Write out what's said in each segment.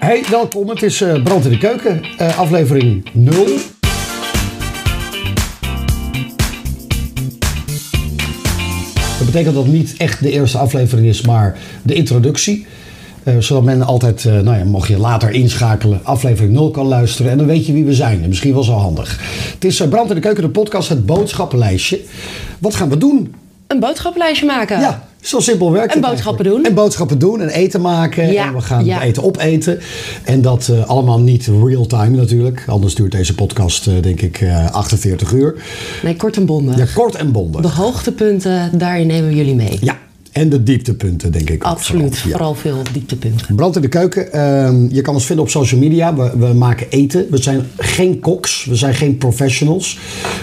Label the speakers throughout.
Speaker 1: Hey, welkom. Het is eh, Brand in de Keuken, eh, aflevering 0. Dat betekent dat het niet echt de eerste aflevering is, maar de introductie. Eh, zodat men altijd, eh, nou ja, mocht je later inschakelen, aflevering 0 kan luisteren. En dan weet je wie we zijn. Misschien wel zo handig. Het is eh, Brand in de Keuken, de podcast, het boodschappenlijstje. Wat gaan we doen?
Speaker 2: Een boodschappenlijstje maken.
Speaker 1: Ja, zo simpel werkt
Speaker 2: En
Speaker 1: het
Speaker 2: boodschappen
Speaker 1: eigenlijk.
Speaker 2: doen.
Speaker 1: En boodschappen doen en eten maken.
Speaker 2: Ja,
Speaker 1: En we gaan
Speaker 2: ja.
Speaker 1: eten opeten. En dat eh, allemaal niet real-time natuurlijk. Anders duurt deze podcast eh, denk ik eh, 48 uur.
Speaker 2: Nee, kort en bondig.
Speaker 1: Ja, kort en
Speaker 2: De
Speaker 1: bondig.
Speaker 2: hoogtepunten, daarin nemen we jullie mee.
Speaker 1: Ja, en de dieptepunten denk ik ook
Speaker 2: Absoluut.
Speaker 1: vooral. Ja.
Speaker 2: Vooral veel dieptepunten.
Speaker 1: Brand in de keuken. ehm, je kan ons vinden op social media. We, we maken eten. We zijn geen koks. We zijn geen professionals.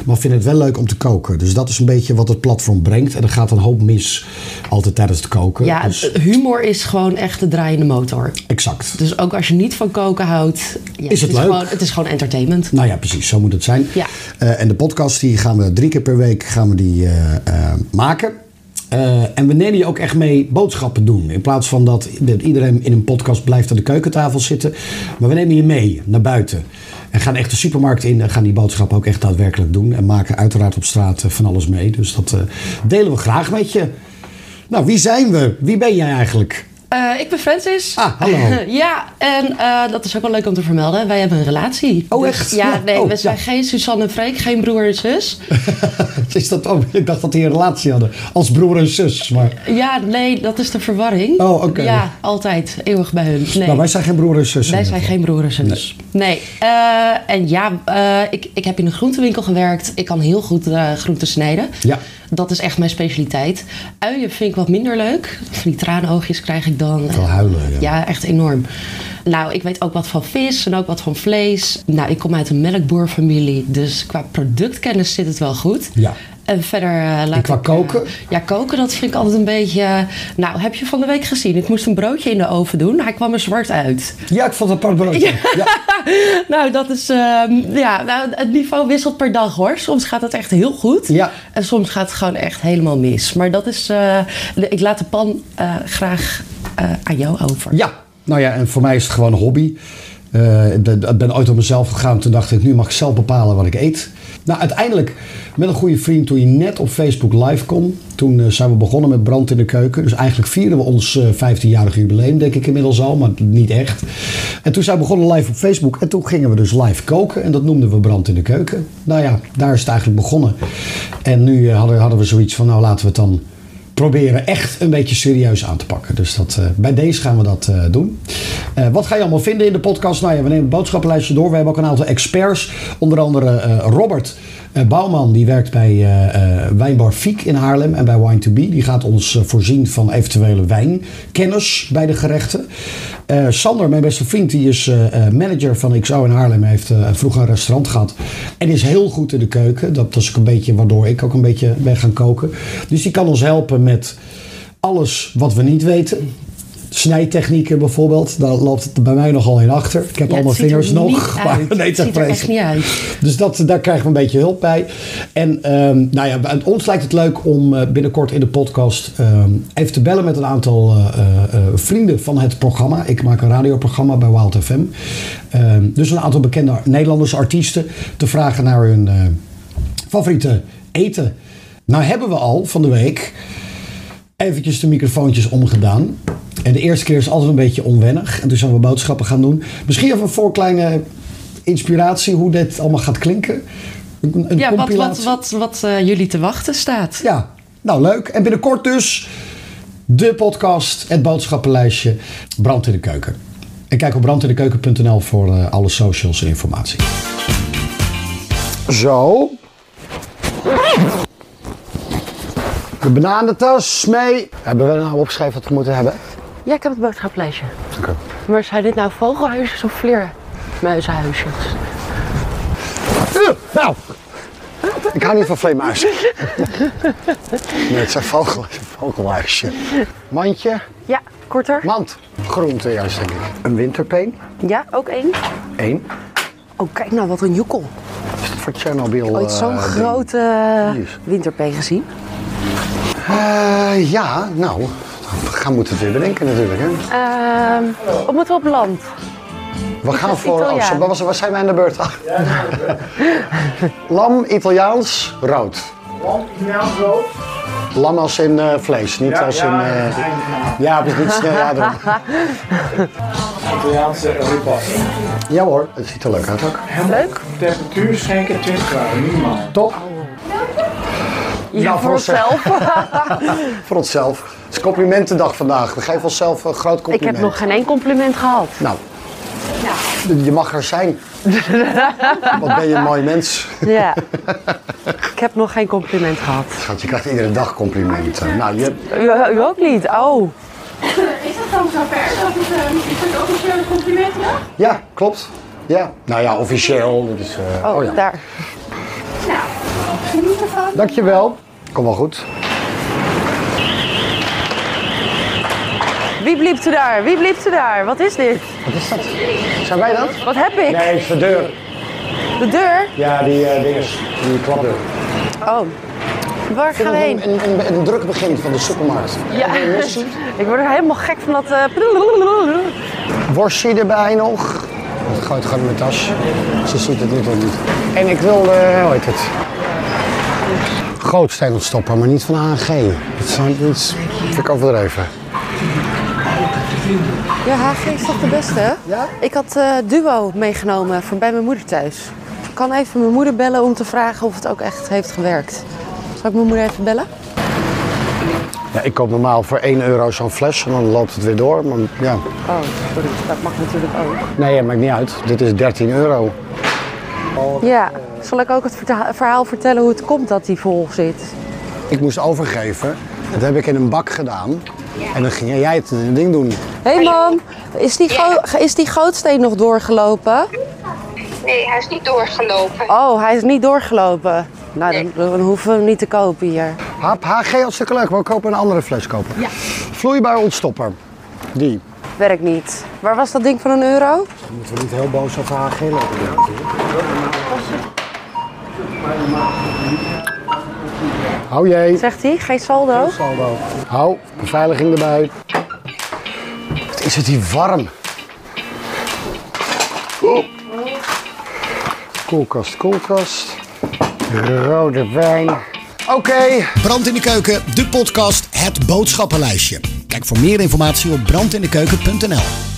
Speaker 1: Maar we vinden het wel leuk om te koken. Dus dat is een beetje wat het platform brengt. En er gaat een hoop mis altijd tijdens het koken.
Speaker 2: Ja,
Speaker 1: Dus-
Speaker 2: humor is gewoon echt de draaiende motor.
Speaker 1: exact.
Speaker 2: Dus ook als je niet van koken houdt, ja,
Speaker 1: Is het leuk?
Speaker 2: Gewoon, het is gewoon entertainment.
Speaker 1: Nou ja, precies. Zo moet het zijn.
Speaker 2: Ja.
Speaker 1: Eh, en de podcast die gaan we drie keer per week gaan we die, eh, eh, maken. Eh, en we nemen je ook echt mee boodschappen doen. In plaats van dat, dat iedereen in een podcast blijft aan de keukentafel zitten. Maar we nemen je mee naar buiten. En gaan echt de supermarkt in en gaan die boodschappen ook echt daadwerkelijk doen. En maken uiteraard op straat eh, van alles mee. Dus dat eh, delen we graag met je. Nou, wie zijn we? Wie ben jij eigenlijk?
Speaker 2: Eh, ik ben Francis.
Speaker 1: Ah, hallo.
Speaker 2: ja, en eh, dat is ook wel leuk om te vermelden. Wij hebben een relatie.
Speaker 1: Oh,
Speaker 2: Dus-
Speaker 1: echt?
Speaker 2: Ja,
Speaker 1: Ja,
Speaker 2: nee,
Speaker 1: oh,
Speaker 2: we zijn
Speaker 1: ja.
Speaker 2: geen Suzanne en Freek, geen broer en zus.
Speaker 1: Is dat ook? Ik dacht dat die een relatie hadden. Als broer en zus. Maar...
Speaker 2: Ja, nee, dat is de verwarring.
Speaker 1: Oh, oké.
Speaker 2: Ja, altijd. Eeuwig bij hun. Nee.
Speaker 1: Nou, wij zijn geen broer en zus.
Speaker 2: Wij zijn geen broer en zus. Nee. Eh, en ja, eh, ik, ik heb in een groentewinkel gewerkt. Ik kan heel goed eh groenten snijden.
Speaker 1: Ja.
Speaker 2: Dat is echt mijn specialiteit. Uien vind ik wat minder leuk. Van die traanoogjes krijg ik dan.
Speaker 1: Wel huilen, ja.
Speaker 2: ja. echt enorm. Nou, ik weet ook wat van vis en ook wat van vlees. Nou, ik kom uit een melkboerfamilie. Dus qua productkennis zit het wel goed.
Speaker 1: Ja.
Speaker 2: En verder eh laat
Speaker 1: En qua
Speaker 2: ik, eh,
Speaker 1: koken?
Speaker 2: ja, koken dat vind ik altijd een beetje... eh, Nou, heb je van de week gezien? Ik moest een broodje in de oven doen. Hij kwam er zwart uit.
Speaker 1: Ja, ik vond het apart broodje. Ja.
Speaker 2: Nou, dat is. ehm, ja, nou, het niveau wisselt per dag hoor. Soms gaat het echt heel goed.
Speaker 1: Ja.
Speaker 2: En soms gaat het gewoon echt helemaal mis. Maar dat is. eh, de- ik laat de pan eh, graag eh, aan jou over.
Speaker 1: Ja. nou ja, en voor mij is het gewoon een hobby. Eh, ik ben- ik ben ooit op mezelf gegaan. Toen dacht ik, nu mag ik zelf bepalen wat ik eet. Nou, uiteindelijk, met een goede vriend, toen je net op Facebook live kon. Toen eh, zijn we begonnen met Brand in de Keuken. Dus eigenlijk vierden we ons eh, 15-jarig jubileum, denk ik inmiddels al. Maar niet echt. En toen zijn we begonnen live op Facebook. En toen gingen we dus live koken. En dat noemden we Brand in de Keuken. Nou ja, daar is het eigenlijk begonnen. En nu eh, hadden, hadden we zoiets van, nou laten we het dan proberen echt een beetje serieus aan te pakken. Dus dat, eh, bij deze gaan we dat eh, doen. Eh, wat ga je allemaal vinden in de podcast? Nou ja, we nemen het boodschappenlijstje door. We hebben ook een aantal experts. Onder andere eh, Robert eh, Bouwman, die werkt bij eh, eh, Wijnbar Fiek in Haarlem en bij Wine2B. Die gaat ons eh, voorzien van eventuele wijnkennis bij de gerechten. Eh, Sander, mijn beste vriend, die is eh, eh, manager van XO in Haarlem. Hij heeft eh, vroeger een restaurant gehad. En is heel goed in de keuken. Dat was ook een beetje waardoor ik ook een beetje ben gaan koken. Dus die kan ons helpen met alles wat we niet weten. Snijtechnieken bijvoorbeeld. Daar loopt het bij mij nogal in achter. Ik heb
Speaker 2: Ja,
Speaker 1: al mijn
Speaker 2: het ziet er
Speaker 1: vingers
Speaker 2: niet
Speaker 1: nog.
Speaker 2: uit.
Speaker 1: maar- nee,
Speaker 2: het
Speaker 1: is echt
Speaker 2: ziet er echt
Speaker 1: vreselijk.
Speaker 2: niet uit.
Speaker 1: Dus dat, daar krijgen we een beetje hulp bij. En ehm, nou ja, bij ons lijkt het leuk om eh, binnenkort in de podcast ehm, even te bellen met een aantal eh, eh, eh, vrienden van het programma. Ik maak een radioprogramma bij Wild FM. Ehm, dus een aantal bekende Nederlandse artiesten te vragen naar hun eh, favoriete eten. Nou hebben we al van de week eventjes de microfoontjes omgedaan. En de eerste keer is altijd een beetje onwennig. En toen zijn we boodschappen gaan doen. Misschien even een voorkleine inspiratie hoe dit allemaal gaat klinken. Een, een
Speaker 2: Ja, wat,
Speaker 1: compilatie.
Speaker 2: wat, wat, wat eh, jullie te wachten staat.
Speaker 1: Ja, nou leuk. En binnenkort dus de podcast, het boodschappenlijstje Brand in de Keuken. En kijk op brandindekeuken.nl voor eh, alle socials en informatie. Zo. De bananentas mee. Hebben we nou opgeschreven wat we moeten hebben?
Speaker 2: Ja, ik heb het boodschappenlijstje. Maar zijn dit nou vogelhuisjes of vleermuizenhuisjes?
Speaker 1: Oeh, Nou, ik hou niet van vleermuizen. nee, het zijn vogel, vogelhuisje. Mandje,
Speaker 2: Ja, korter.
Speaker 1: mand, groente juist denk ik. Een winterpeen,
Speaker 2: Ja, ook één.
Speaker 1: één.
Speaker 2: Oh, kijk nou, wat een joekel.
Speaker 1: Is het voor Tsjernobyl?
Speaker 2: Ooit
Speaker 1: eh,
Speaker 2: zo'n
Speaker 1: ding?
Speaker 2: grote
Speaker 1: Jezus.
Speaker 2: winterpeen gezien?
Speaker 1: Eh, ja, nou, we gaan moeten het weer bedenken natuurlijk hè.
Speaker 2: Ehm, we moeten op land.
Speaker 1: We gaan
Speaker 2: is
Speaker 1: voor
Speaker 2: Italiaan.
Speaker 1: Amsterdam. Waar, was- waar zijn wij aan de beurt? Lam, Italiaans, rood.
Speaker 3: Lam, Italiaans rood.
Speaker 1: Lam als in eh, vlees, niet
Speaker 3: Ja,
Speaker 1: als in...
Speaker 3: ja,
Speaker 1: eh,
Speaker 3: ja.
Speaker 1: ja, dus niet snel. Ja, dan-
Speaker 3: Italiaanse ripas.
Speaker 1: ja hoor, het ziet er leuk uit ook.
Speaker 2: Leuk.
Speaker 3: Temperatuur schenken 20 graden, minimaal.
Speaker 1: Top.
Speaker 2: Ja,
Speaker 1: Nou,
Speaker 2: voor
Speaker 1: voor ze-
Speaker 2: onszelf.
Speaker 1: Voor onszelf. Het is complimentendag vandaag. We geven onszelf een groot
Speaker 2: Ik
Speaker 1: compliment.
Speaker 2: heb nog geen één compliment gehad.
Speaker 1: Nou, je mag er zijn. Wat ben je een mooi mens.
Speaker 2: Ja. Ik heb nog geen compliment gehad.
Speaker 1: Schat, je krijgt iedere dag complimenten. Nou, je,
Speaker 2: U, u ook niet? Oh.
Speaker 4: Is dat dan zo ver dat het, eh, is dat officieel een compliment mag?
Speaker 1: ja, klopt. Ja, nou ja, officieel. Dat is, eh,
Speaker 2: Oh,
Speaker 1: oh ja.
Speaker 2: daar.
Speaker 4: Nou, geniet ervan.
Speaker 1: Dankjewel. Kom wel goed.
Speaker 2: Wie bliep er daar? Wie bliep er daar? Wat is dit?
Speaker 1: Wat is dat? Zijn wij dat?
Speaker 2: Wat heb ik?
Speaker 1: Nee, het is de deur.
Speaker 2: De deur?
Speaker 1: Ja, die eh dinges. Die klapdeur.
Speaker 2: Oh. Waar gaan we heen?
Speaker 1: Een, een, een, een druk begin van de supermarkt.
Speaker 2: Ja, ik word er helemaal gek van dat... eh,
Speaker 1: Worstje erbij nog. Dat gooit gewoon in mijn tas. Ze ziet het niet of niet. En ik wil, eh hoe heet het? Gootsteenontstopper, maar niet van ANG. Dat zijn iets, vind ik overdreven.
Speaker 2: Ja, HG is toch de beste?
Speaker 1: Ja?
Speaker 2: Ik had eh, Duo meegenomen voor bij mijn moeder thuis. Ik kan even mijn moeder bellen om te vragen of het ook echt heeft gewerkt. Zal ik mijn moeder even bellen?
Speaker 1: Ja, ik koop normaal voor 1 euro zo'n fles en dan loopt het weer door. Maar ja,
Speaker 2: Oh, sorry. Dat mag natuurlijk ook.
Speaker 1: nee, ja, maakt niet uit. Dit is 13 euro.
Speaker 2: Ja, zal ik ook het verta- verhaal vertellen hoe het komt dat die vol zit?
Speaker 1: Ik moest overgeven. Dat heb ik in een bak gedaan. En dan ging jij het ding doen.
Speaker 2: Hé hey mam, is die, go- is die gootsteen nog doorgelopen?
Speaker 5: Nee, hij is niet doorgelopen.
Speaker 2: Oh, hij is niet doorgelopen. Nou, dan, dan hoeven we hem niet te kopen hier.
Speaker 1: Hap, HG hartstikke leuk, maar we kopen een andere fles kopen. Vloeibaar ontstopper. Die.
Speaker 2: Werkt niet. Waar was dat ding van een euro?
Speaker 1: Moeten we niet heel boos over HG lopen? Hou jij.
Speaker 2: Zegt hij, geen saldo?
Speaker 1: Hou, beveiliging erbij. Wat is het hier warm? Oeh. Koelkast, koelkast. Rode wijn. Oké.
Speaker 6: Brand in de Keuken, de podcast Het Boodschappenlijstje. Kijk voor meer informatie op brandindekeuken.nl.